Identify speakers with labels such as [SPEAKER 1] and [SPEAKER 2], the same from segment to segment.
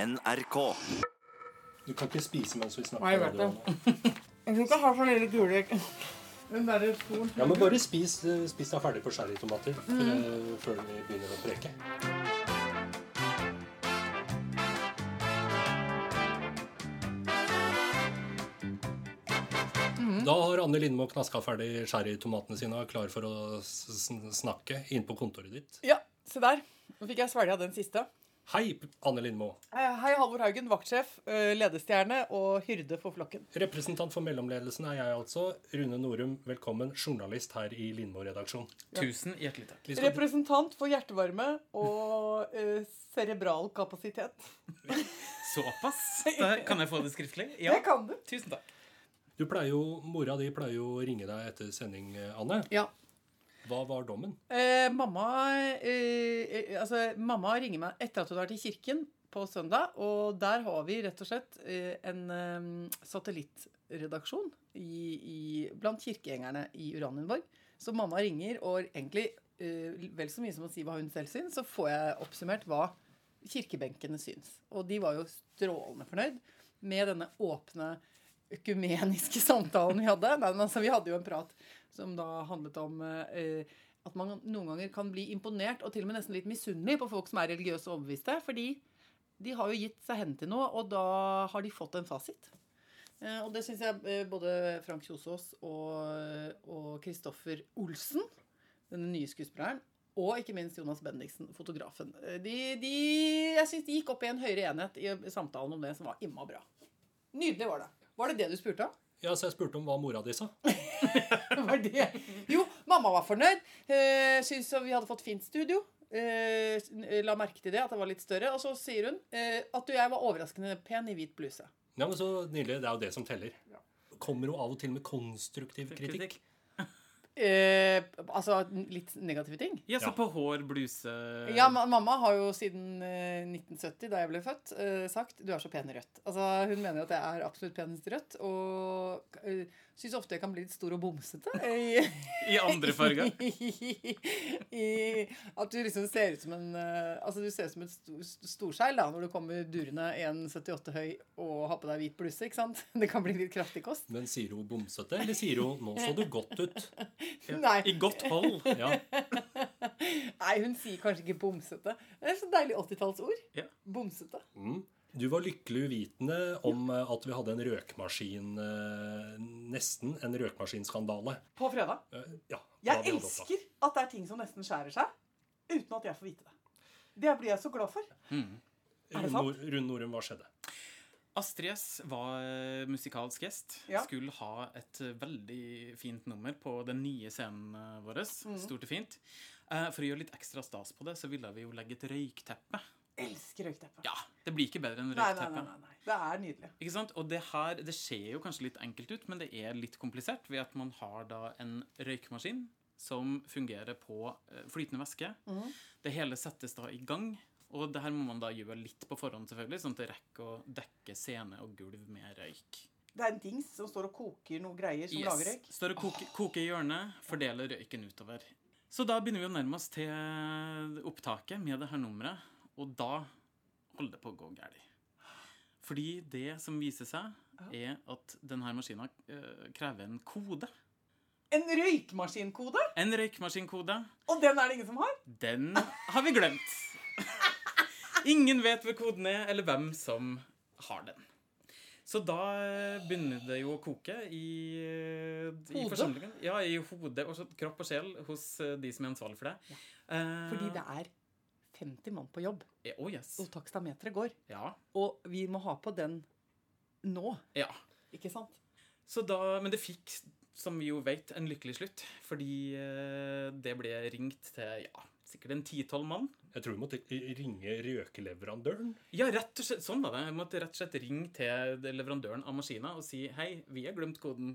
[SPEAKER 1] NRK.
[SPEAKER 2] Du kan ikke spise mens vi snakker.
[SPEAKER 3] Nei, jeg vet det.
[SPEAKER 2] Adriana.
[SPEAKER 3] Jeg tror ikke jeg har sånn lille gule Den derre skoen.
[SPEAKER 2] Ja, men bare spis, eh, spis deg ferdig på cherrytomater
[SPEAKER 3] Mm.
[SPEAKER 2] eh, før vi begynner å preke.
[SPEAKER 3] Mm.
[SPEAKER 2] Da har Anne Lindmo knaska ferdig cherrytomatene sine og er klar for å s sn- snakke inn på kontoret ditt.
[SPEAKER 3] Ja, se der. Nå fikk jeg svelga den siste.
[SPEAKER 2] Hei, P- Anne Lindmo.
[SPEAKER 3] Eh, Hei, Halvor Haugen, vaktsjef, eh, ledestjerne og hyrde for flokken.
[SPEAKER 2] Representant for mellomledelsen er jeg altså. Rune Norum, velkommen. Journalist her i Lindmo-redaksjon.
[SPEAKER 4] Tusen hjertelig takk.
[SPEAKER 2] Vi skal-
[SPEAKER 3] Representant for hjertevarme og eh, cerebral kapasitet.
[SPEAKER 4] Såpass? Da kan jeg få det skriftlig?
[SPEAKER 3] Det kan du.
[SPEAKER 4] Tusen takk.
[SPEAKER 2] Du pleier jo, Mora di pleier jo å ringe deg etter sending, eh, Anne.
[SPEAKER 3] Ja.
[SPEAKER 2] Hva var dommen?
[SPEAKER 3] Eh, mamma, eh, eh, altså, mamma ringer meg etter at hun har vært i kirken på søndag. Og der har vi rett og slett eh, en eh, satellittredaksjon i, i, blant kirkegjengerne i Uranienborg. Så mamma ringer, og egentlig eh, vel så mye som å si hva hun selv syns, så får jeg oppsummert hva kirkebenkene syns. Og de var jo strålende fornøyd med denne åpne økumeniske samtalen vi hadde. Nei, men altså, vi hadde jo en prat som da handlet om eh, at man noen ganger kan bli imponert og til og med nesten litt misunnelig på folk som er religiøse og overbeviste. Fordi de har jo gitt seg hen til noe, og da har de fått en fasit. Eh, Og det syns jeg eh, både Frank Kjosås og og Kristoffer Olsen, den nye skuespilleren, og ikke minst Jonas Bendiksen, fotografen. Eh, De, de, jeg syns de gikk opp i en høyere enhet i samtalen om det, som var imma bra. Nydelig var det. Var det det du spurte om?
[SPEAKER 2] Ja, så jeg spurte om hva mora di sa.
[SPEAKER 3] var det. Jo, mamma var fornøyd. Eh, syntes vi hadde fått fint studio. Eh, la merke til det, at det var litt større. Og så sier hun eh, at du jeg var overraskende pen i hvit bluse.
[SPEAKER 2] Ja, men så nydelig. Det er jo det som teller. Kommer jo av og til med konstruktiv kritikk.
[SPEAKER 4] Kritikk.
[SPEAKER 3] Eh, altså litt negative ting.
[SPEAKER 4] Ja, så
[SPEAKER 2] Ja.
[SPEAKER 4] på hår, bluse
[SPEAKER 3] Ja, ma- mamma har jo siden eh, 1970, da jeg ble født, eh, sagt 'du er så pen i rødt'. Altså, Hun mener at jeg er absolutt penest i rødt, og eh, syns ofte jeg kan bli litt stor og bomsete. Eh,
[SPEAKER 4] I andre farger.
[SPEAKER 3] I, at du liksom ser ut som en eh, Altså du ser ut som et sto- st- storseil da når du kommer durende 1,78 høy og har på deg hvit bluse. ikke sant? Det kan bli litt kraftig kost.
[SPEAKER 2] Men sier hun bomsete, eller sier hun 'nå så du godt ut'?
[SPEAKER 4] Ja. I
[SPEAKER 3] Nei,
[SPEAKER 4] godt hold.
[SPEAKER 2] Ja,
[SPEAKER 3] nei, hun sier kanskje ikke bomsete. Det er så deilig 80-tallsord.
[SPEAKER 4] Ja.
[SPEAKER 3] Bomsete.
[SPEAKER 2] mm. Du var lykkelig uvitende om eh, at vi hadde en røkmaskin eh, Nesten en røkmaskinskandale.
[SPEAKER 3] På fredag.
[SPEAKER 2] Eh, Ja, da
[SPEAKER 3] Jeg
[SPEAKER 2] vi hadde
[SPEAKER 4] altså.
[SPEAKER 2] opptak.
[SPEAKER 3] elsker at det er ting som nesten skjærer seg uten at jeg får vite det. Det blir jeg så glad for. Er det
[SPEAKER 2] Rune
[SPEAKER 3] sant?
[SPEAKER 2] Nor- Rune Norum, hva skjedde?
[SPEAKER 4] Astrid S var eh, musikalsk gjest.
[SPEAKER 3] Ja.
[SPEAKER 4] Skulle ha et eh, veldig fint nummer på den nye scenen eh, vår.
[SPEAKER 3] Mhm.
[SPEAKER 4] Stort og fint. Eh, For å gjøre litt ekstra stas på det, så ville vi jo legge et røykteppe.
[SPEAKER 3] Elsker røykteppe.
[SPEAKER 4] Ja, Det blir ikke bedre enn
[SPEAKER 3] Nei,
[SPEAKER 4] røykteppe.
[SPEAKER 3] nei, nei, nei, nei. Det er nydelig.
[SPEAKER 4] Ikke sant? Og det her, det ser jo kanskje litt enkelt ut, men det er litt komplisert ved at man har da en røykemaskin som fungerer på eh, flytende væske. Det hele settes da i gang, og det her må man da gjøre litt på forhånd selvfølgelig, sånn at det rekker å dekke scene og gulv med røyk.
[SPEAKER 3] Det er en dings som står og koker noe greier som lager røyk.
[SPEAKER 4] Står og koker, koker i hjørnet, fordeler røyken utover. Så da begynner vi å nærme oss til opptaket med det her nummeret, og da holder det på å gå galt. Fordi det som viser seg, er at denne maskina eh, krever en kode.
[SPEAKER 3] En røykmaskinkode?
[SPEAKER 4] En røykmaskinkode.
[SPEAKER 3] Og den er det ingen som har?
[SPEAKER 4] Den har vi glemt. Ingen vet hvor koden er, eller hvem som har den. Så da eh, begynner det jo å koke i, eh, i
[SPEAKER 3] Hodet?
[SPEAKER 4] forsamlingen. Ja, i hodet og så kropp og sjel hos eh, de som er ansvarlig for det. Eh,
[SPEAKER 3] Fordi det er 50 mann på jobb,
[SPEAKER 4] eh, Oh yes.
[SPEAKER 3] og takstameteret går.
[SPEAKER 4] Ja.
[SPEAKER 3] Og vi må ha på den nå,
[SPEAKER 4] ja.
[SPEAKER 3] ikke sant?
[SPEAKER 4] Så da, men det fikk, som vi jo vet, en lykkelig slutt. Fordi eh, det ble ringt til ja, sikkert en ti-tolv mann.
[SPEAKER 2] Jeg tror vi måtte ringe røkeleverandøren.
[SPEAKER 4] Ja, rett og slett, sånn var det. Jeg måtte rett og slett ringe til leverandøren av maskina og si hei, vi har glemt koden.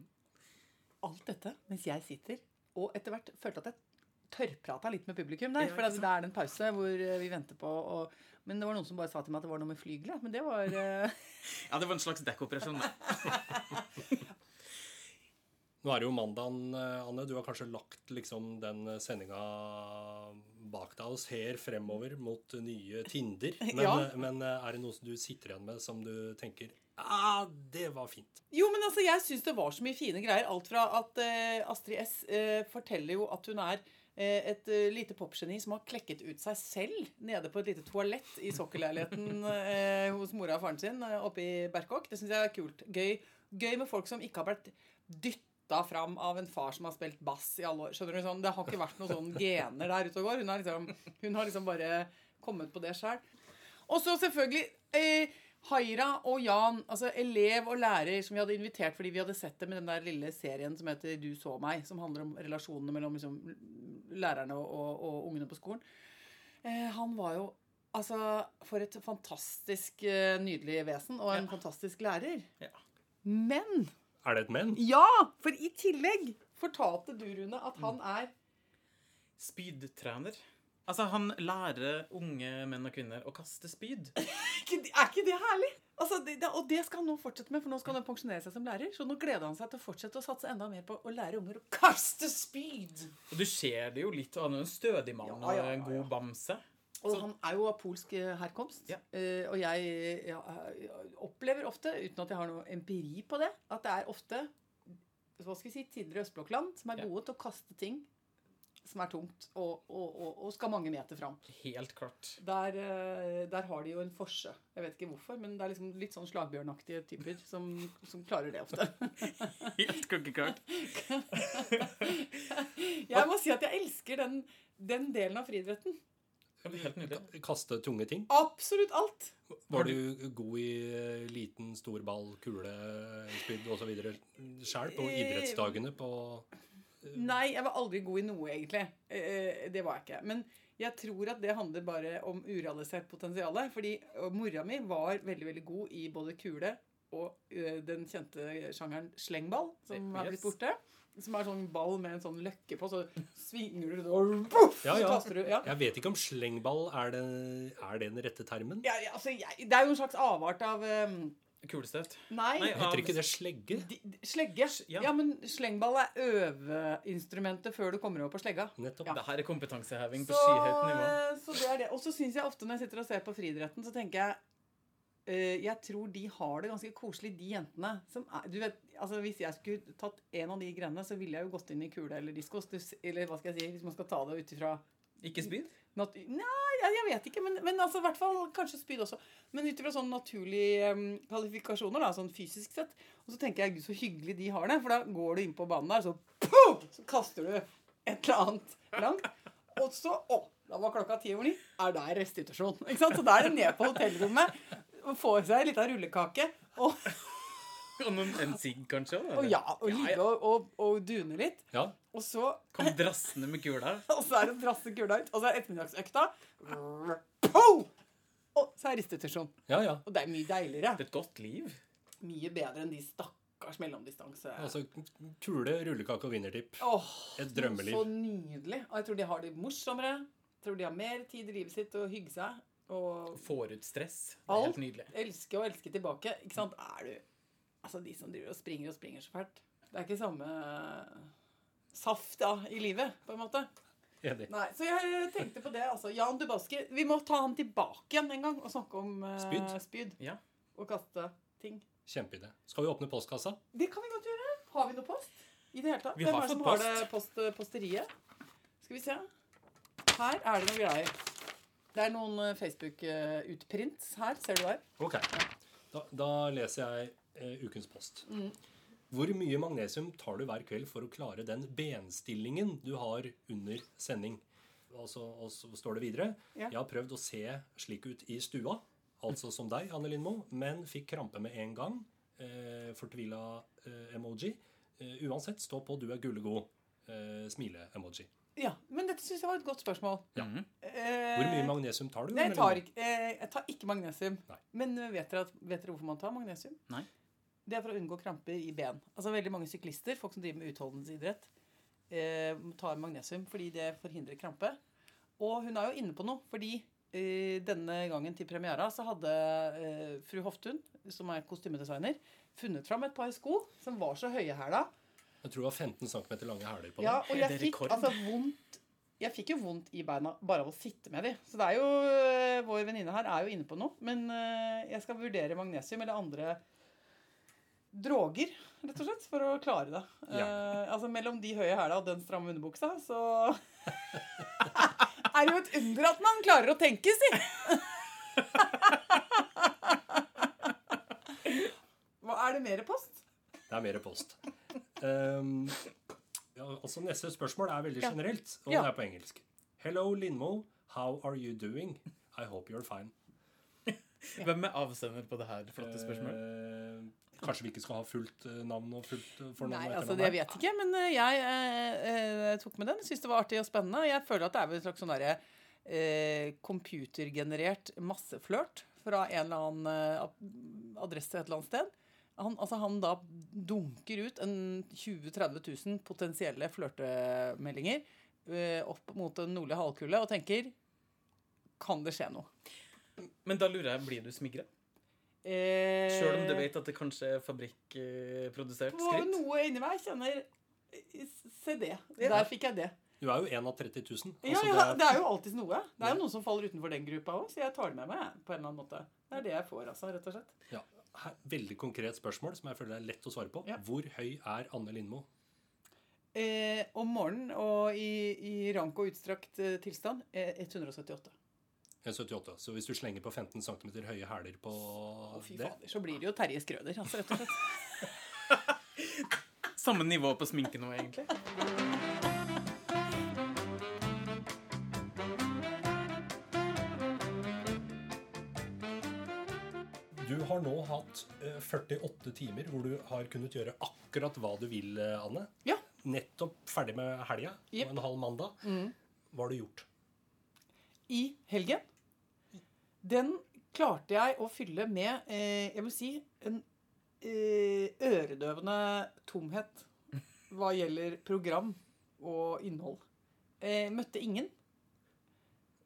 [SPEAKER 3] Alt dette mens jeg sitter, og etter hvert følte at jeg tørrprata litt med publikum der.
[SPEAKER 4] Ja,
[SPEAKER 3] For
[SPEAKER 4] ikke
[SPEAKER 3] at det er en pause hvor eh, vi venter på og, Men det var noen som bare sa til meg at det var noe med flygelet. Men det var eh,
[SPEAKER 4] Ja, det var en slags dekkoperasjon. da.
[SPEAKER 2] Nå er det jo mandagen, eh, Anne. Du har kanskje lagt liksom den eh, sendinga bak deg og ser fremover mot nye Tinder. Men, eh,
[SPEAKER 3] Ja.
[SPEAKER 2] men er det noe som du sitter igjen med som du tenker ah, det var fint.
[SPEAKER 3] Jo, men altså, jeg syns det var så mye fine greier. Alt fra at eh, Astrid S eh, forteller jo at hun er eh, et eh, lite popgeni som har klekket ut seg selv nede på et lite toalett i sokkelleiligheten eh, hos mora og faren sin eh, oppe i Berkåk. Det syns jeg er kult. Gøy, gøy med folk som ikke har blitt dytta fram av en far som har spilt bass i alle år. Skjønner du sånn? Det har ikke vært noen sånne gener der ute og går. Hun, er liksom, hun har liksom bare kommet på det sjøl. Og så selvfølgelig eh, Haira og Jan, altså elev og lærer, som vi hadde invitert fordi vi hadde sett det med den der lille serien som heter Du så meg, som handler om relasjonene mellom liksom, lærerne og, og, og ungene på skolen. Eh, han var jo Altså, for et fantastisk eh, nydelig vesen, og en
[SPEAKER 4] Ja.
[SPEAKER 3] fantastisk lærer.
[SPEAKER 4] Ja.
[SPEAKER 3] Men
[SPEAKER 2] Er det et men?
[SPEAKER 3] Ja! For i tillegg Mm. fortalte du, Rune, at han er
[SPEAKER 4] Spydtrener. Altså, han lærer unge menn og kvinner å kaste spyd.
[SPEAKER 3] Ikke- Er ikke det herlig? Altså, det, det, og det skal han nå fortsette med, for nå skal han pensjonere seg som lærer. Så nå gleder han seg til å fortsette å satse enda mer på å lære unger å kaste spyd.
[SPEAKER 4] Og du ser det jo litt. Han er jo en stødig mann
[SPEAKER 3] Ja, ja,
[SPEAKER 4] og en
[SPEAKER 3] ja,
[SPEAKER 4] god bamse.
[SPEAKER 3] Og
[SPEAKER 4] Så-
[SPEAKER 3] han er jo av polsk eh, herkomst.
[SPEAKER 4] Ja.
[SPEAKER 3] Eh, og jeg eh, ja, eh, opplever ofte, uten at jeg har noe empiri på det, at det er ofte hva skal vi si, tidligere østblokkland som er
[SPEAKER 4] Ja.
[SPEAKER 3] gode til å kaste ting som er tungt, og, og, og, og skal mange meter fram.
[SPEAKER 4] Helt klart.
[SPEAKER 3] Der, eh, der har de jo en forse. Jeg vet ikke hvorfor, men det er liksom litt sånn slagbjørnaktige typer som, som klarer det ofte.
[SPEAKER 4] Helt klokkeklart.
[SPEAKER 3] Jeg må si at jeg elsker den, den delen av friidretten.
[SPEAKER 4] Ja, men Helt nydelig.
[SPEAKER 2] Ka- Kaste tunge ting?
[SPEAKER 3] Absolutt alt.
[SPEAKER 2] Var du god i eh, liten, stor ball, kule, spyd osv. sjæl på
[SPEAKER 3] Eh,
[SPEAKER 2] idrettsdagene på
[SPEAKER 3] Nei, jeg var aldri god i noe, egentlig. Eh, Det var jeg ikke. Men jeg tror at det handler bare om urealisert potensial. Fordi eh, mora mi var veldig, veldig god i både kule og eh, den kjente sjangeren slengball, som er blitt
[SPEAKER 4] Yes.
[SPEAKER 3] borte. Som er sånn ball med en sånn løkke på, så svinger du det, og voff,
[SPEAKER 2] Ja, ja.
[SPEAKER 3] så kaster du. Ja.
[SPEAKER 2] Jeg vet ikke om slengball er det, er det den rette termen.
[SPEAKER 3] Ja, ja, altså, jeg, det er jo en slags avart av eh,
[SPEAKER 4] Kulestøt.
[SPEAKER 3] Nei,
[SPEAKER 4] Nei,
[SPEAKER 2] Heter ikke det slegge?
[SPEAKER 3] De- de- Slegge. Ja.
[SPEAKER 4] ja.
[SPEAKER 3] men slengball er øveinstrumentet før du kommer over på slegga.
[SPEAKER 2] Nettopp.
[SPEAKER 3] Ja.
[SPEAKER 4] Det her er kompetanseheving på
[SPEAKER 3] Så,
[SPEAKER 4] skyhøyt nivå.
[SPEAKER 3] eh, så det er det. Og så syns jeg ofte når jeg sitter og ser på friidretten, så tenker jeg eh, jeg tror de har det ganske koselig, de jentene. Som er, du vet, altså Hvis jeg skulle tatt en av de grenene, så ville jeg jo gått inn i kule eller diskos. Du s- Eller hva skal jeg si, hvis man skal ta det ut ifra
[SPEAKER 4] Ikke spyd?
[SPEAKER 3] Nat Nei, jeg, jeg vet ikke. Men, men altså, i hvert fall kanskje spyd også. Men ut ifra sånne naturlige em, kvalifikasjoner, da, sånn fysisk sett. Og så tenker jeg gud, så hyggelig de har det. For da går du inn på banen der, så poof, så kaster du et eller annet langt. Og så Å, da var klokka ti over ni. Er der restitusjon. Ikke sant? Så da er det ned på hotellrommet. og Får seg litt av rullekake. Og,
[SPEAKER 4] Og noen, en sigg, kanskje? også,
[SPEAKER 3] og
[SPEAKER 4] eller?
[SPEAKER 3] ja, og ligge
[SPEAKER 4] ja.
[SPEAKER 3] og, og, og dune litt.
[SPEAKER 2] Ja.
[SPEAKER 3] Og så
[SPEAKER 4] Kom drassende med kula.
[SPEAKER 3] Og så er det å drasse kula ut. Og så er ettermiddagsøkta Pow! Og så er restitusjon.
[SPEAKER 2] ja, ja.
[SPEAKER 3] Og det er mye deiligere.
[SPEAKER 4] Det er et godt liv.
[SPEAKER 3] Mye bedre enn de stakkars mellomdistanse...
[SPEAKER 2] Altså kule, rullekake og vinnertipp.
[SPEAKER 3] Åh,
[SPEAKER 2] Et drømmeliv.
[SPEAKER 3] Så nydelig. Og jeg tror de har det morsommere. Jeg tror de har mer tid i livet sitt til å hygge seg. Og
[SPEAKER 4] Får ut stress. Det er
[SPEAKER 3] Alt.
[SPEAKER 4] helt nydelig.
[SPEAKER 3] elske og elske tilbake. Ikke sant? Er du Altså, de som driver og springer og springer så fælt. Det er ikke samme saft da, i livet, på en måte.
[SPEAKER 2] Enig.
[SPEAKER 3] Nei, så jeg tenkte på det, altså. Jan Dubaski. Vi må ta han tilbake igjen en gang og snakke om eh,
[SPEAKER 2] Spyd.
[SPEAKER 3] spyd
[SPEAKER 4] Ja.
[SPEAKER 3] og kaste ting.
[SPEAKER 2] Kjempeidé. Skal vi åpne postkassa?
[SPEAKER 3] Det kan vi godt gjøre. Har vi noe post? I det hele tatt?
[SPEAKER 4] Vi
[SPEAKER 3] Hvem
[SPEAKER 4] har
[SPEAKER 3] er det som
[SPEAKER 4] fått
[SPEAKER 3] har det post, eh, posteriet? Skal vi se. Her er det noen greier. Det er noen eh, Facebook-utprints her. Ser du der?
[SPEAKER 2] Ok. Da, da leser jeg eh, ukens post.
[SPEAKER 3] Mm.
[SPEAKER 2] Hvor mye magnesium tar du hver kveld for å klare den benstillingen du har under sending? Og så, og så står det videre.
[SPEAKER 3] Ja.
[SPEAKER 2] Jeg har prøvd å se slik ut i stua, altså som deg, Anne Lindmo, men fikk krampe med en gang. Eh, fortvila eh, emoji. Eh, uansett, stå på, du er gullegod. Eh, Smile-emoji.
[SPEAKER 3] Ja. Men dette syns jeg var et godt spørsmål. Eh,
[SPEAKER 2] Ja.
[SPEAKER 4] Mhm.
[SPEAKER 3] Hvor
[SPEAKER 2] Hvor mye magnesium tar du?
[SPEAKER 3] Nei,
[SPEAKER 2] Anne
[SPEAKER 3] jeg tar
[SPEAKER 2] Lindmo?
[SPEAKER 3] ikke, eh, jeg tar ikke magnesium.
[SPEAKER 2] Nei.
[SPEAKER 3] Men eh, vet dere, at, vet dere hvorfor man tar magnesium?
[SPEAKER 4] Nei.
[SPEAKER 3] Det er for å unngå kramper i ben. Altså Veldig mange syklister, folk som driver med utholdenhetsidrett, eh, tar magnesium fordi det forhindrer krampe. Og hun er jo inne på noe, fordi eh, denne gangen til premiera så hadde eh, fru Hoftun, som er kostymedesigner, funnet fram et par sko som var så høye hæla
[SPEAKER 2] Jeg tror det var 15 cm lange hæler på den.
[SPEAKER 3] ja, og
[SPEAKER 4] Er
[SPEAKER 3] jeg
[SPEAKER 4] det
[SPEAKER 3] fikk
[SPEAKER 4] rekord?
[SPEAKER 3] altså vondt Jeg fikk jo vondt i beina bare av å sitte med de. Så det er jo, øh, vår venninne her er jo inne på noe. Men øh, jeg skal vurdere magnesium eller andre droger, rett og slett, for å klare det. Eh, altså mellom de høye hæla og den stramme underbuksa, så er det jo et under at man klarer å tenke, si! Hva er det mer post?
[SPEAKER 2] Det er mer post. Ehm, ja, altså neste spørsmål er veldig
[SPEAKER 3] Ja.
[SPEAKER 2] generelt, og
[SPEAKER 3] Ja.
[SPEAKER 2] det er på engelsk. Hello, Lindmo. How are you doing? I hope you're fine.
[SPEAKER 4] Hvem er avsender på det her flotte spørsmålet?
[SPEAKER 2] Eh, kanskje vi ikke skal ha fullt eh, navn og fullt eh, fornavn?
[SPEAKER 3] Nei,
[SPEAKER 2] og
[SPEAKER 3] altså
[SPEAKER 2] etternavn
[SPEAKER 3] det
[SPEAKER 2] her?
[SPEAKER 3] vet ikke, men eh, jeg eh, eh, tok med den. Syns det var artig og spennende. og Jeg føler at det er vel en slags sånn derre eh, computergenerert masseflørt fra en eller annen eh, ad- adresse et eller annet sted. Han, altså han da dunker ut en 20 000-30 000 potensielle flørtemeldinger eh, opp mot den nordlige halvkule og tenker Kan det skje noe?
[SPEAKER 4] Men da lurer jeg, blir du smigra?
[SPEAKER 3] Eh,
[SPEAKER 4] Sjøl om du vet at det kanskje er fabrikkprodusert
[SPEAKER 3] Det var
[SPEAKER 4] skritt?
[SPEAKER 3] noe inni meg jeg kjenner eh, Se det. Der fikk jeg det.
[SPEAKER 2] Du er jo en av 30 000.
[SPEAKER 3] Ja,
[SPEAKER 2] Altså,
[SPEAKER 3] ja,
[SPEAKER 2] det
[SPEAKER 3] det er jo alltid noe. Det er
[SPEAKER 2] Ja.
[SPEAKER 3] jo noen som faller utenfor den gruppa òg, så jeg tar det med meg. jeg, på en eller annen måte. Det er det jeg får, altså, rett og slett.
[SPEAKER 2] er, ja, her- veldig konkret spørsmål som jeg føler er lett å svare på.
[SPEAKER 3] Ja.
[SPEAKER 2] Hvor høy er Anne Lindmo?
[SPEAKER 3] Eh, om morgenen og i, i rank og utstrakt eh, tilstand eh, 178.
[SPEAKER 2] 1,78. Så hvis du slenger på 15 cm høye hæler på
[SPEAKER 3] Å, fy
[SPEAKER 2] det
[SPEAKER 3] fader, så blir det jo Terje Skrøder, altså, rett og slett.
[SPEAKER 4] Samme nivå på sminke nå, egentlig.
[SPEAKER 2] Du har nå hatt eh, 48 timer hvor du har kunnet gjøre akkurat hva du vil, eh, Anne.
[SPEAKER 3] Ja.
[SPEAKER 2] Nettopp ferdig med helga
[SPEAKER 3] Jep.
[SPEAKER 2] og en halv mandag. Hva har du gjort?
[SPEAKER 3] I helgen. Den klarte jeg å fylle med, eh, jeg må si, en eh, øredøvende tomhet hva gjelder program og innhold. Eh, møtte ingen.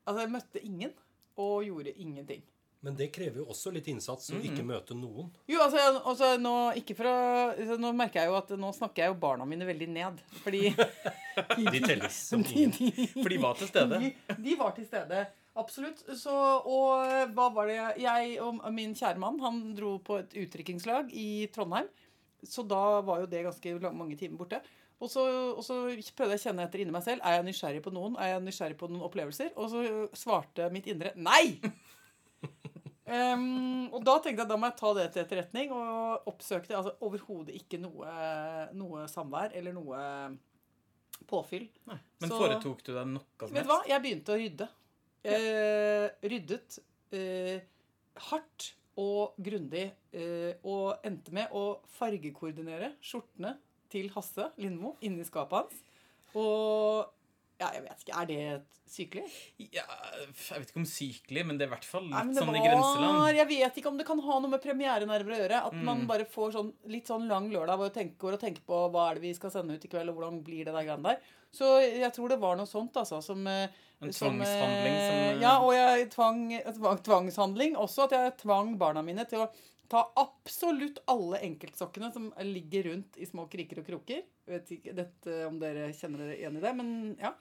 [SPEAKER 3] Altså, jeg møtte ingen og gjorde ingenting.
[SPEAKER 2] Men det krever jo også litt innsats å ikke møte noen.
[SPEAKER 3] Jo, altså, jeg- altså nå, ikke for å, altså, nå merker jeg jo at nå snakker jeg jo barna mine veldig ned. Fordi
[SPEAKER 2] De teller som ingen.
[SPEAKER 4] For de var til stede.
[SPEAKER 3] De, de var til stede. Absolutt. Så, og hva var det jeg- Jeg og min kjære mann han dro på et utdrikkingslag i Trondheim. Så da var jo det ganske lang- mange timer borte. Og så, og så prøvde jeg å kjenne etter inni meg selv. Er jeg nysgjerrig på noen? Er jeg nysgjerrig på noen opplevelser? Og så svarte mitt indre nei! Ehm, og da tenkte jeg da må jeg ta det til etterretning, og oppsøkte altså, overhodet ikke noe, noe samvær eller noe påfyll.
[SPEAKER 4] Men
[SPEAKER 3] Så-
[SPEAKER 4] foretok du deg noe som
[SPEAKER 3] Vet du hva? Jeg begynte å rydde. Eh, ryddet eh, hardt og grundig. Eh, og endte med å fargekoordinere skjortene til Hasse Lindmo inni skapet hans. Og ja, jeg vet ikke. Er det et sykelig?
[SPEAKER 4] Ja, jeg vet ikke om sykelig, men det er i hvert fall litt
[SPEAKER 3] Nei, men det
[SPEAKER 4] sånn i
[SPEAKER 3] var-
[SPEAKER 4] grenseland.
[SPEAKER 3] Jeg vet ikke om det kan ha noe med premierenerver å gjøre. At man
[SPEAKER 4] Mm.
[SPEAKER 3] bare får sånn, litt sånn lang lørdag hvor tenker, går og tenker på hva er det vi skal sende ut i kveld, og hvordan blir det der greiene der. Så jeg tror det var noe sånt, altså, som eh,
[SPEAKER 4] En
[SPEAKER 3] som, eh,
[SPEAKER 4] tvangshandling som eh,
[SPEAKER 3] Ja, og jeg tvang, tvang, tvangshandling også. At jeg tvang barna mine til å ta absolutt alle enkeltsokkene som ligger rundt i små kriker og kroker. Jeg vet ikke dette, om dere kjenner dere igjen i det, men ja.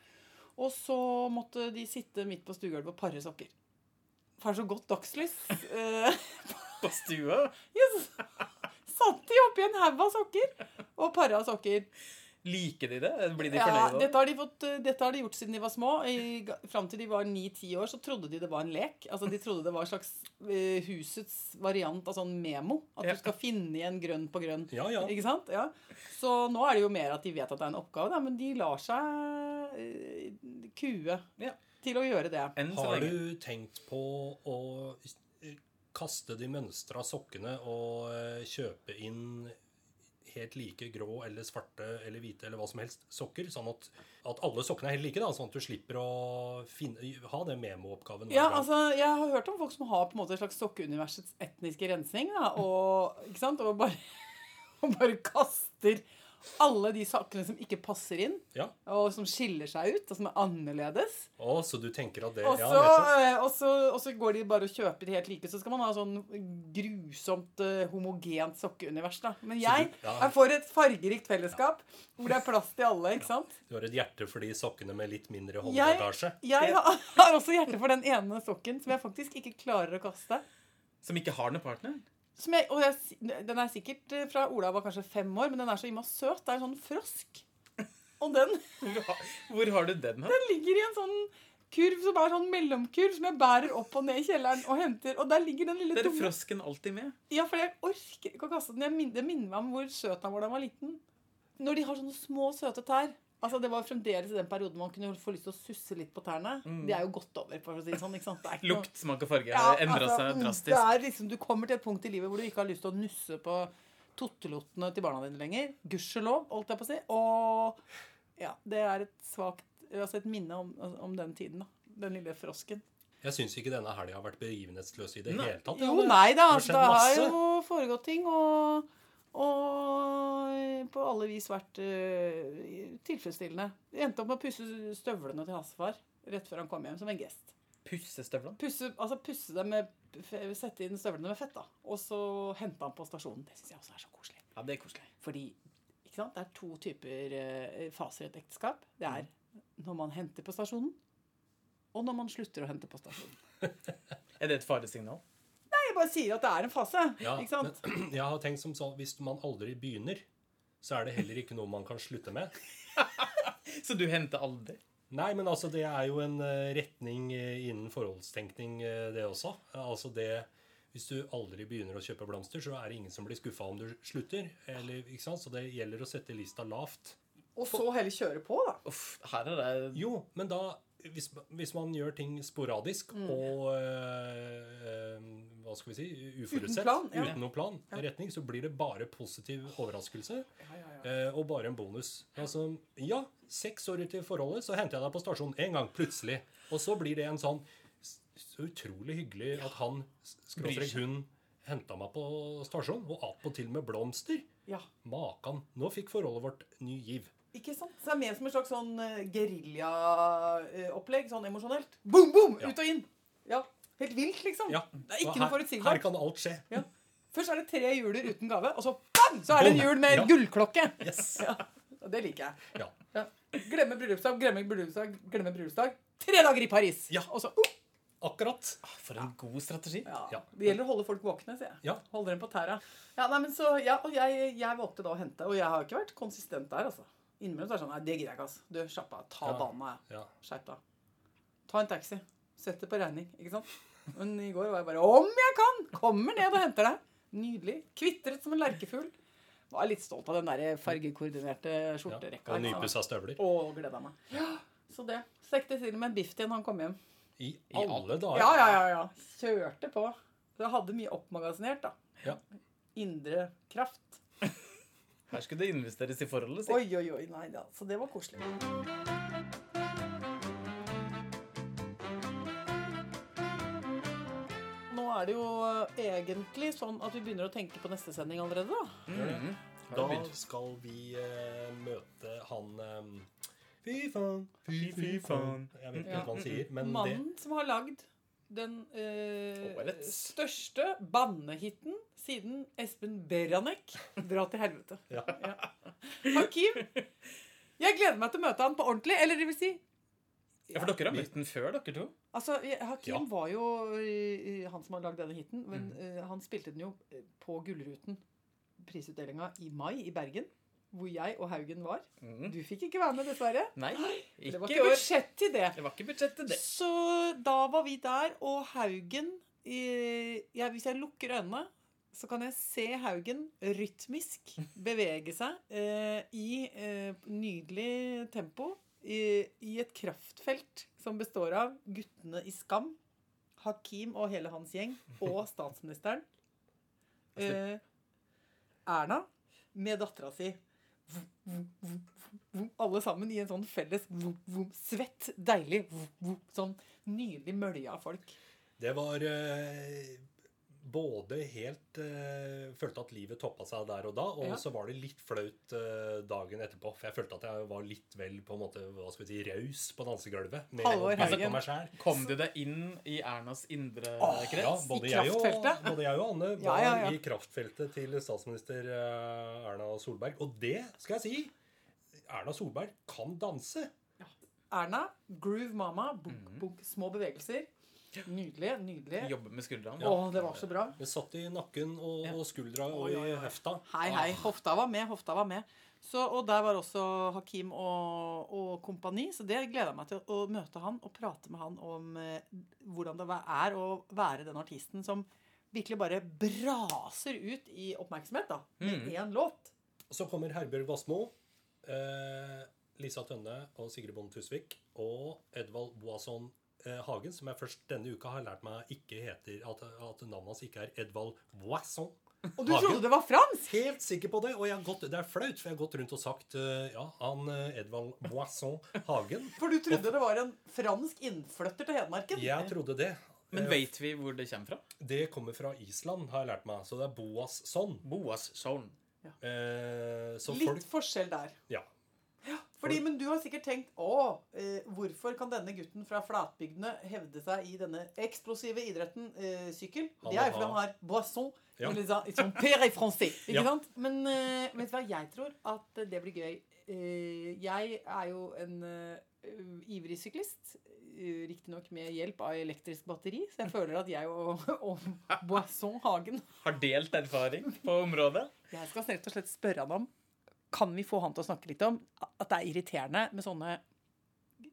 [SPEAKER 3] Og så måtte de sitte midt på stuegulvet og pare sokker. For det er så godt dagslys. Eh,
[SPEAKER 4] på stua.
[SPEAKER 3] yes. Satt de oppi en haug av sokker og para sokker.
[SPEAKER 4] Liker de det? Blir de
[SPEAKER 3] Ja,
[SPEAKER 4] fornøyde?
[SPEAKER 3] dette har, de fått, eh, dette har de gjort siden de var små. I, ga- fram til de var 9-10 år, så trodde de det var en lek. Altså, De trodde det var en slags eh, husets variant av sånn memo. At
[SPEAKER 4] Ja.
[SPEAKER 3] du skal finne igjen grønn på grønn.
[SPEAKER 2] Ja, ja.
[SPEAKER 3] Ikke sant? Ja. Så nå er det jo mer at de vet at det er en oppgave, da, men de lar seg eh, kue
[SPEAKER 4] Ja.
[SPEAKER 3] til å gjøre det.
[SPEAKER 4] Enn så
[SPEAKER 2] Har
[SPEAKER 4] lenge.
[SPEAKER 2] du tenkt på å eh, kaste de mønstra sokkene og eh, kjøpe inn helt like grå eller svarte eller hvite eller hva som helst sokker? Sånn at, at alle sokkene er helt like, da, sånn at du slipper å finne, ha den memooppgaven hver
[SPEAKER 3] Ja,
[SPEAKER 2] gang.
[SPEAKER 3] altså, Jeg har hørt om folk som har på en måte et slags sokkeuniversets etniske rensing. Da, og, ikke sant? og bare, og bare kaster alle de sakene som ikke passer inn,
[SPEAKER 2] Ja.
[SPEAKER 3] og som skiller seg ut, og som er annerledes.
[SPEAKER 2] Å, så du tenker at det
[SPEAKER 3] Og
[SPEAKER 2] ja,
[SPEAKER 3] så,
[SPEAKER 2] nettopp.
[SPEAKER 3] eh, og, så, og så går de bare og kjøper helt like. Så skal man ha sånn grusomt eh, homogent sokkeunivers. da. Men jeg,
[SPEAKER 2] du- ja.
[SPEAKER 3] jeg får et fargerikt fellesskap hvor det er plass til alle. ikke sant?
[SPEAKER 2] Du har et hjerte for de sokkene med litt mindre
[SPEAKER 3] Jeg-
[SPEAKER 2] håndleddasje.
[SPEAKER 3] Jeg har, har også hjerte for den ene sokken som jeg faktisk ikke klarer å kaste.
[SPEAKER 4] Som ikke har noen partner?
[SPEAKER 3] Som jeg, og jeg, si- den er sikkert eh, fra Ola var kanskje fem år, men den er så imma søt. Det er en sånn frosk. Og den
[SPEAKER 4] Hvor har, hvor har du den her?
[SPEAKER 3] Den ligger i en sånn kurv som er sånn mellomkurv som jeg bærer opp og ned i kjelleren og henter. Og der ligger den lille
[SPEAKER 4] Der er
[SPEAKER 3] dumme
[SPEAKER 4] frosken alltid med.
[SPEAKER 3] Ja, for jeg orker ikke å kaste den. Jeg min, det minner meg om hvor søt han var da han var liten. Når de har sånne små, søte tær Altså, Det var fremdeles i den perioden man kunne få lyst til å susse litt på tærne. Det er jo godt over, for å si det sånn. ikke sant? Det er ikke noe-
[SPEAKER 4] Lukt, smak og farge
[SPEAKER 3] Ja,
[SPEAKER 4] har endra
[SPEAKER 3] altså,
[SPEAKER 4] seg
[SPEAKER 3] mm, Det
[SPEAKER 4] drastisk.
[SPEAKER 3] er liksom, Du kommer til et punkt i livet hvor du ikke har lyst til å nusse på tottelottene til barna dine lenger. Gudskjelov, holdt jeg på å si. Og ja, det er et svagt Altså et minne om, om den tiden, da. Den lille frosken.
[SPEAKER 2] Jeg syns ikke denne helga har vært begivenhetsløs i det
[SPEAKER 4] Nei.
[SPEAKER 2] hele tatt.
[SPEAKER 3] Jo, nei da.
[SPEAKER 2] har
[SPEAKER 3] Altså,
[SPEAKER 2] skjedd
[SPEAKER 3] det har
[SPEAKER 2] masse.
[SPEAKER 3] jo foregått ting, og, og på alle vis vært eh, tilfredsstillende. Jeg endte opp med å pusse støvlene til Hassefar rett før han kom hjem, som en gest.
[SPEAKER 4] Pussestøvlene.
[SPEAKER 3] Pusse, altså pusse dem med f- Sette inn støvlene med fett, da. Og så hente han på stasjonen. Det syns jeg også er så koselig.
[SPEAKER 4] Ja, det er koselig.
[SPEAKER 3] Fordi ikke sant? det er to typer eh, faser i et ekteskap. Det er
[SPEAKER 2] Mm.
[SPEAKER 3] når man henter på stasjonen, og når man slutter å hente på stasjonen.
[SPEAKER 4] Er det et faresignal?
[SPEAKER 3] Nei, jeg bare sier at det er en fase.
[SPEAKER 2] Ja,
[SPEAKER 3] ikke sant?
[SPEAKER 2] Men jeg har tenkt som sånn, hvis man aldri begynner, så er det heller ikke noe man kan slutte med.
[SPEAKER 4] Så du henter aldri?
[SPEAKER 2] Nei, men altså, det er jo en eh, retning eh, innen forholdstenkning, eh, det også. Eh, Altså det Hvis du aldri begynner å kjøpe blomster, så er det ingen som blir skuffa om du slutter. Eller, ikke sant? Så det gjelder å sette lista lavt.
[SPEAKER 3] Og så heller kjøre på, da.
[SPEAKER 4] Uff, her er det
[SPEAKER 2] Jo, men da hvis, hvis man gjør ting sporadisk
[SPEAKER 3] Mm.
[SPEAKER 2] og eh, eh, hva skal vi si uforutsett,
[SPEAKER 3] Uten plan, ja.
[SPEAKER 2] uten noen plan retning, så blir det bare positiv overraskelse eh, og bare en bonus. Altså, ja, seks år ut i forholdet, så henter jeg deg på stasjonen én gang, plutselig. Og så blir det en sånn s- så utrolig hyggelig at han,
[SPEAKER 4] Bryr
[SPEAKER 2] skråstrek
[SPEAKER 4] seg.
[SPEAKER 2] hun, henta meg på stasjonen, og attpåtil med blomster.
[SPEAKER 3] Ja,
[SPEAKER 2] Makan. Nå fikk forholdet vårt ny giv.
[SPEAKER 3] ikke sant? Så det er mer som et slags sånn geriljaopplegg, sånn emosjonelt. Boom, boom!
[SPEAKER 2] Ja.
[SPEAKER 3] Ut og inn. Ja, Helt vilt, liksom.
[SPEAKER 2] Ja.
[SPEAKER 3] Det er ikke
[SPEAKER 2] og
[SPEAKER 3] noe
[SPEAKER 2] her- Her
[SPEAKER 3] forutsigbart.
[SPEAKER 2] kan alt skje.
[SPEAKER 3] Ja. Først er det tre juler uten gave, og så bang, så er det en
[SPEAKER 2] Boom.
[SPEAKER 3] jul med
[SPEAKER 2] Ja.
[SPEAKER 3] gullklokke.
[SPEAKER 2] Yes.
[SPEAKER 3] Ja, og det liker jeg.
[SPEAKER 2] Ja.
[SPEAKER 3] Ja. Glemme bryllupsdag, glemme bryllupsdag, glemme bryllupsdag. Tre dager i Paris!
[SPEAKER 2] Ja.
[SPEAKER 3] Og så, oh,
[SPEAKER 2] Akkurat.
[SPEAKER 4] Ah, For en god strategi.
[SPEAKER 3] ja.
[SPEAKER 2] Ja.
[SPEAKER 3] Det gjelder å holde folk våkne, sier jeg.
[SPEAKER 2] Ja.
[SPEAKER 3] Holde dem på tæra. Ja, nei, men så, ja, og jeg, jeg valgte da å hente, og jeg har ikke vært konsistent der, altså. Innimellom så er det sånn, nei, det gidder jeg ikke, altså. Du, slapp av, ta
[SPEAKER 2] Ja.
[SPEAKER 3] banen her.
[SPEAKER 2] ja.
[SPEAKER 3] Skjerp deg. Ta en taxi. Sett det på regning, ikke sant? Men i går var jeg bare, om jeg kan, kommer ned og henter deg. Nydelig. Kvittret som en lerkefugl. Var litt stolt av den der fargekoordinerte skjorterekka.
[SPEAKER 2] Og
[SPEAKER 3] ikke sant?
[SPEAKER 2] nypussa støvler.
[SPEAKER 3] Og gleda meg. Ja, så det. Stekte til og med en biff til når han kom hjem.
[SPEAKER 2] I alle dager.
[SPEAKER 3] Ja, ja, ja. ja. Kjørte på. Så jeg hadde mye oppmagasinert, da.
[SPEAKER 2] Ja.
[SPEAKER 3] Indre kraft.
[SPEAKER 4] Her skulle det investeres i forholdet sitt.
[SPEAKER 3] Oi, oi, oi. Nei da. Så det var koselig. Nå er det jo egentlig sånn at vi begynner å tenke på neste sending allerede, da.
[SPEAKER 4] Mhm. Har
[SPEAKER 2] Da
[SPEAKER 4] det begynt.
[SPEAKER 2] skal vi eh, møte han eh, Fy faen, fy, fy
[SPEAKER 4] Fy
[SPEAKER 2] faen.
[SPEAKER 4] faen.
[SPEAKER 2] Jeg vet ikke
[SPEAKER 3] Ja.
[SPEAKER 2] hva han sier, men det
[SPEAKER 3] Mannen som har lagd den eh,
[SPEAKER 4] Årets.
[SPEAKER 3] største bannehiten siden Espen Beranek. Dra til helvete.
[SPEAKER 2] ja.
[SPEAKER 3] Hakim, jeg gleder meg til å møte han på ordentlig. Eller det vil si
[SPEAKER 4] Ja, for dere har møtt den før, dere to.
[SPEAKER 3] Altså, jeg- Hakim
[SPEAKER 2] Ja.
[SPEAKER 3] var jo eh, han som har lagd denne hiten, men
[SPEAKER 4] Mm.
[SPEAKER 3] eh, han spilte den jo eh, på Gullruten, prisutdelinga i mai i Bergen, hvor jeg og Haugen var.
[SPEAKER 4] Mhm.
[SPEAKER 3] Du fikk ikke være med, dessverre.
[SPEAKER 4] Nei,
[SPEAKER 3] Det
[SPEAKER 4] ikke
[SPEAKER 3] var
[SPEAKER 4] i
[SPEAKER 3] ikke
[SPEAKER 4] år.
[SPEAKER 3] budsjett til det.
[SPEAKER 4] Det var ikke budsjett til det.
[SPEAKER 3] Så da var vi der, og Haugen eh, ja, Hvis jeg lukker øynene, så kan jeg se Haugen rytmisk bevege seg eh, i eh, nydelig tempo i, i et kraftfelt som består av guttene i Skam, Hakim og hele hans gjeng, og statsministeren. Eh, Erna med dattera si. Vum, vum, vum, vum, vum. Alle sammen i en sånn felles vum, vum, svett, deilig vum, vum, Sånn nydelig mølje av folk.
[SPEAKER 2] Det var eh, både helt eh, Følte at livet toppa seg der og da, og
[SPEAKER 3] Ja.
[SPEAKER 2] så var det litt flaut eh, dagen etterpå. For jeg følte at jeg var litt vel på en måte, hva skal vi si, raus på dansegulvet. Med å
[SPEAKER 3] Halvor
[SPEAKER 2] peke
[SPEAKER 3] Haugen.
[SPEAKER 2] på meg sjæl.
[SPEAKER 4] Kom du deg inn i Ernas indre krets?
[SPEAKER 2] Ja,
[SPEAKER 3] I
[SPEAKER 2] både jeg, og,
[SPEAKER 3] kraftfeltet.
[SPEAKER 2] både jeg og Anne var
[SPEAKER 3] Ja, ja, ja.
[SPEAKER 2] i kraftfeltet til statsminister eh, Erna Solberg. Og det skal jeg si! Erna Solberg kan danse.
[SPEAKER 3] Erna, groove mama, bunk, bunk, små bevegelser. Nydelig, nydelig.
[SPEAKER 4] Jobbe med skuldrene?
[SPEAKER 3] Å, det var så bra.
[SPEAKER 2] Hun satt i nakken og, og skuldra og
[SPEAKER 4] Oi, oi,
[SPEAKER 2] i
[SPEAKER 4] oi.
[SPEAKER 2] hefta.
[SPEAKER 3] Hei, hei. Hofta var med, hofta var med. Så, og der var også Hakim og, og kompani, så det gleder jeg meg til å møte han og prate med han om eh, hvordan det er å være den artisten som virkelig bare braser ut i oppmerksomhet, da. Med én låt.
[SPEAKER 2] Og Så kommer Herbjørg Wassmo, eh, Lisa Tønne og Sigrid Bonde Tusvik og Edvald Boasson eh, Hagen, som jeg først denne uka har lært meg ikke heter, at, at navnet hans ikke er Edvald Boasson.
[SPEAKER 3] Og du trodde det var fransk!
[SPEAKER 2] Helt sikker på det, og jeg har gått, det er flaut, for jeg har gått rundt og sagt eh, ja, han eh, Edvald Boasson Hagen.
[SPEAKER 3] For du trodde det var en fransk innflytter til Hedmarken.
[SPEAKER 2] Jeg trodde det.
[SPEAKER 4] Men
[SPEAKER 2] Eh,
[SPEAKER 4] vet vi hvor det kommer fra?
[SPEAKER 2] Det kommer fra Island, har jeg lært meg. Så det er Boasson.
[SPEAKER 4] Boas Sound.
[SPEAKER 2] Eh, så
[SPEAKER 3] Litt
[SPEAKER 2] folk
[SPEAKER 3] forskjell der.
[SPEAKER 2] Ja.
[SPEAKER 3] Fordi, men du har sikkert tenkt Å, eh, hvorfor kan denne gutten fra flatbygdene hevde seg i denne eksplosive idretten eh, sykkel?
[SPEAKER 2] Han
[SPEAKER 3] Det
[SPEAKER 2] må
[SPEAKER 3] er jo fordi han
[SPEAKER 2] ha-
[SPEAKER 3] har boisson.
[SPEAKER 2] Ja.
[SPEAKER 3] Eller sa- som père français. Ikke
[SPEAKER 2] Ja.
[SPEAKER 3] sant? Men eh, vet du hva, jeg tror at det blir gøy. Eh, jeg er jo en eh, ivrig syklist. eh, Riktignok med hjelp av elektrisk batteri, så jeg føler at jeg og, og Boisson Hagen
[SPEAKER 4] Har delt erfaring på området?
[SPEAKER 3] jeg skal rett og slett spørre han om Kan vi få han til å snakke litt om at det er irriterende med sånne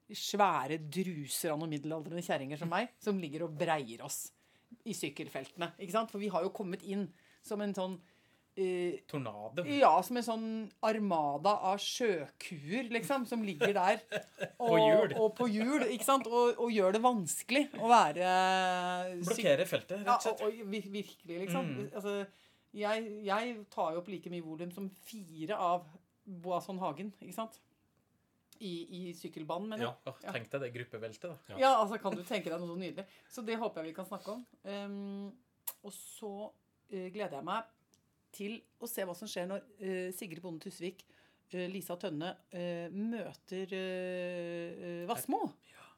[SPEAKER 3] svære druser av noen middelaldrende kjerringer som meg, som ligger og breier oss i sykkelfeltene. Ikke sant? For vi har jo kommet inn som en sånn eh,
[SPEAKER 4] Tornado.
[SPEAKER 3] ja, som en sånn armada av sjøkuer, liksom, som ligger der. Og,
[SPEAKER 4] hjul.
[SPEAKER 3] Og på hjul, ikke sant? Og, og gjør det vanskelig å være syk-
[SPEAKER 4] Blokkerer feltet, rett og
[SPEAKER 3] ja,
[SPEAKER 4] slett. Mm.
[SPEAKER 3] og, og vir- virkelig, liksom. Altså, jeg, jeg tar jo opp like mye volum som fire av Boasson Hagen, ikke sant? I, i sykkelbanen, mener jeg.
[SPEAKER 2] ja.
[SPEAKER 3] Ja.
[SPEAKER 4] Åh, tenk deg det gruppeveltet, da.
[SPEAKER 2] Ja.
[SPEAKER 3] altså kan du tenke deg noe så nydelig. Så det håper jeg vi kan snakke om. Ehm, og så eh, gleder jeg meg til å se hva som skjer når eh, Sigrid Bonde Tusvik, eh, Lisa Tønne, eh, møter uh, Vassmo.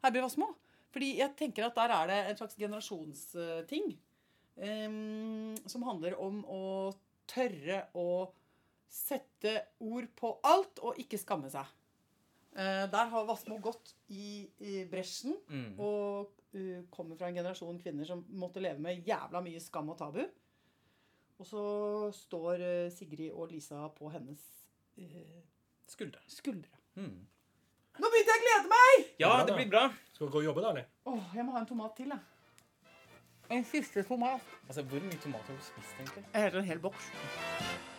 [SPEAKER 3] Herbjørg Wassmo. Fordi jeg tenker at der er det en slags generasjonsting em, som handler om å tørre å sette ord på alt og ikke skamme seg. Eh, der har Wassmo gått i, i bresjen
[SPEAKER 4] Mm.
[SPEAKER 3] og eh, kommer fra en generasjon kvinner som måtte leve med jævla mye skam og tabu. Og så står eh, Sigrid og Lisa på hennes eh,
[SPEAKER 4] Skuldre.
[SPEAKER 3] skuldre.
[SPEAKER 4] Mm.
[SPEAKER 3] Nå begynte jeg å glede meg!
[SPEAKER 4] Ja,
[SPEAKER 2] Bra,
[SPEAKER 4] det
[SPEAKER 2] da.
[SPEAKER 4] blir bra.
[SPEAKER 2] Skal vi gå og jobbe, da, eller?
[SPEAKER 3] Åh, jeg må ha en tomat til, jeg. En siste tomat.
[SPEAKER 4] Altså, Hvor mye tomat har du spist, egentlig?
[SPEAKER 3] Jeg heter en hel boks.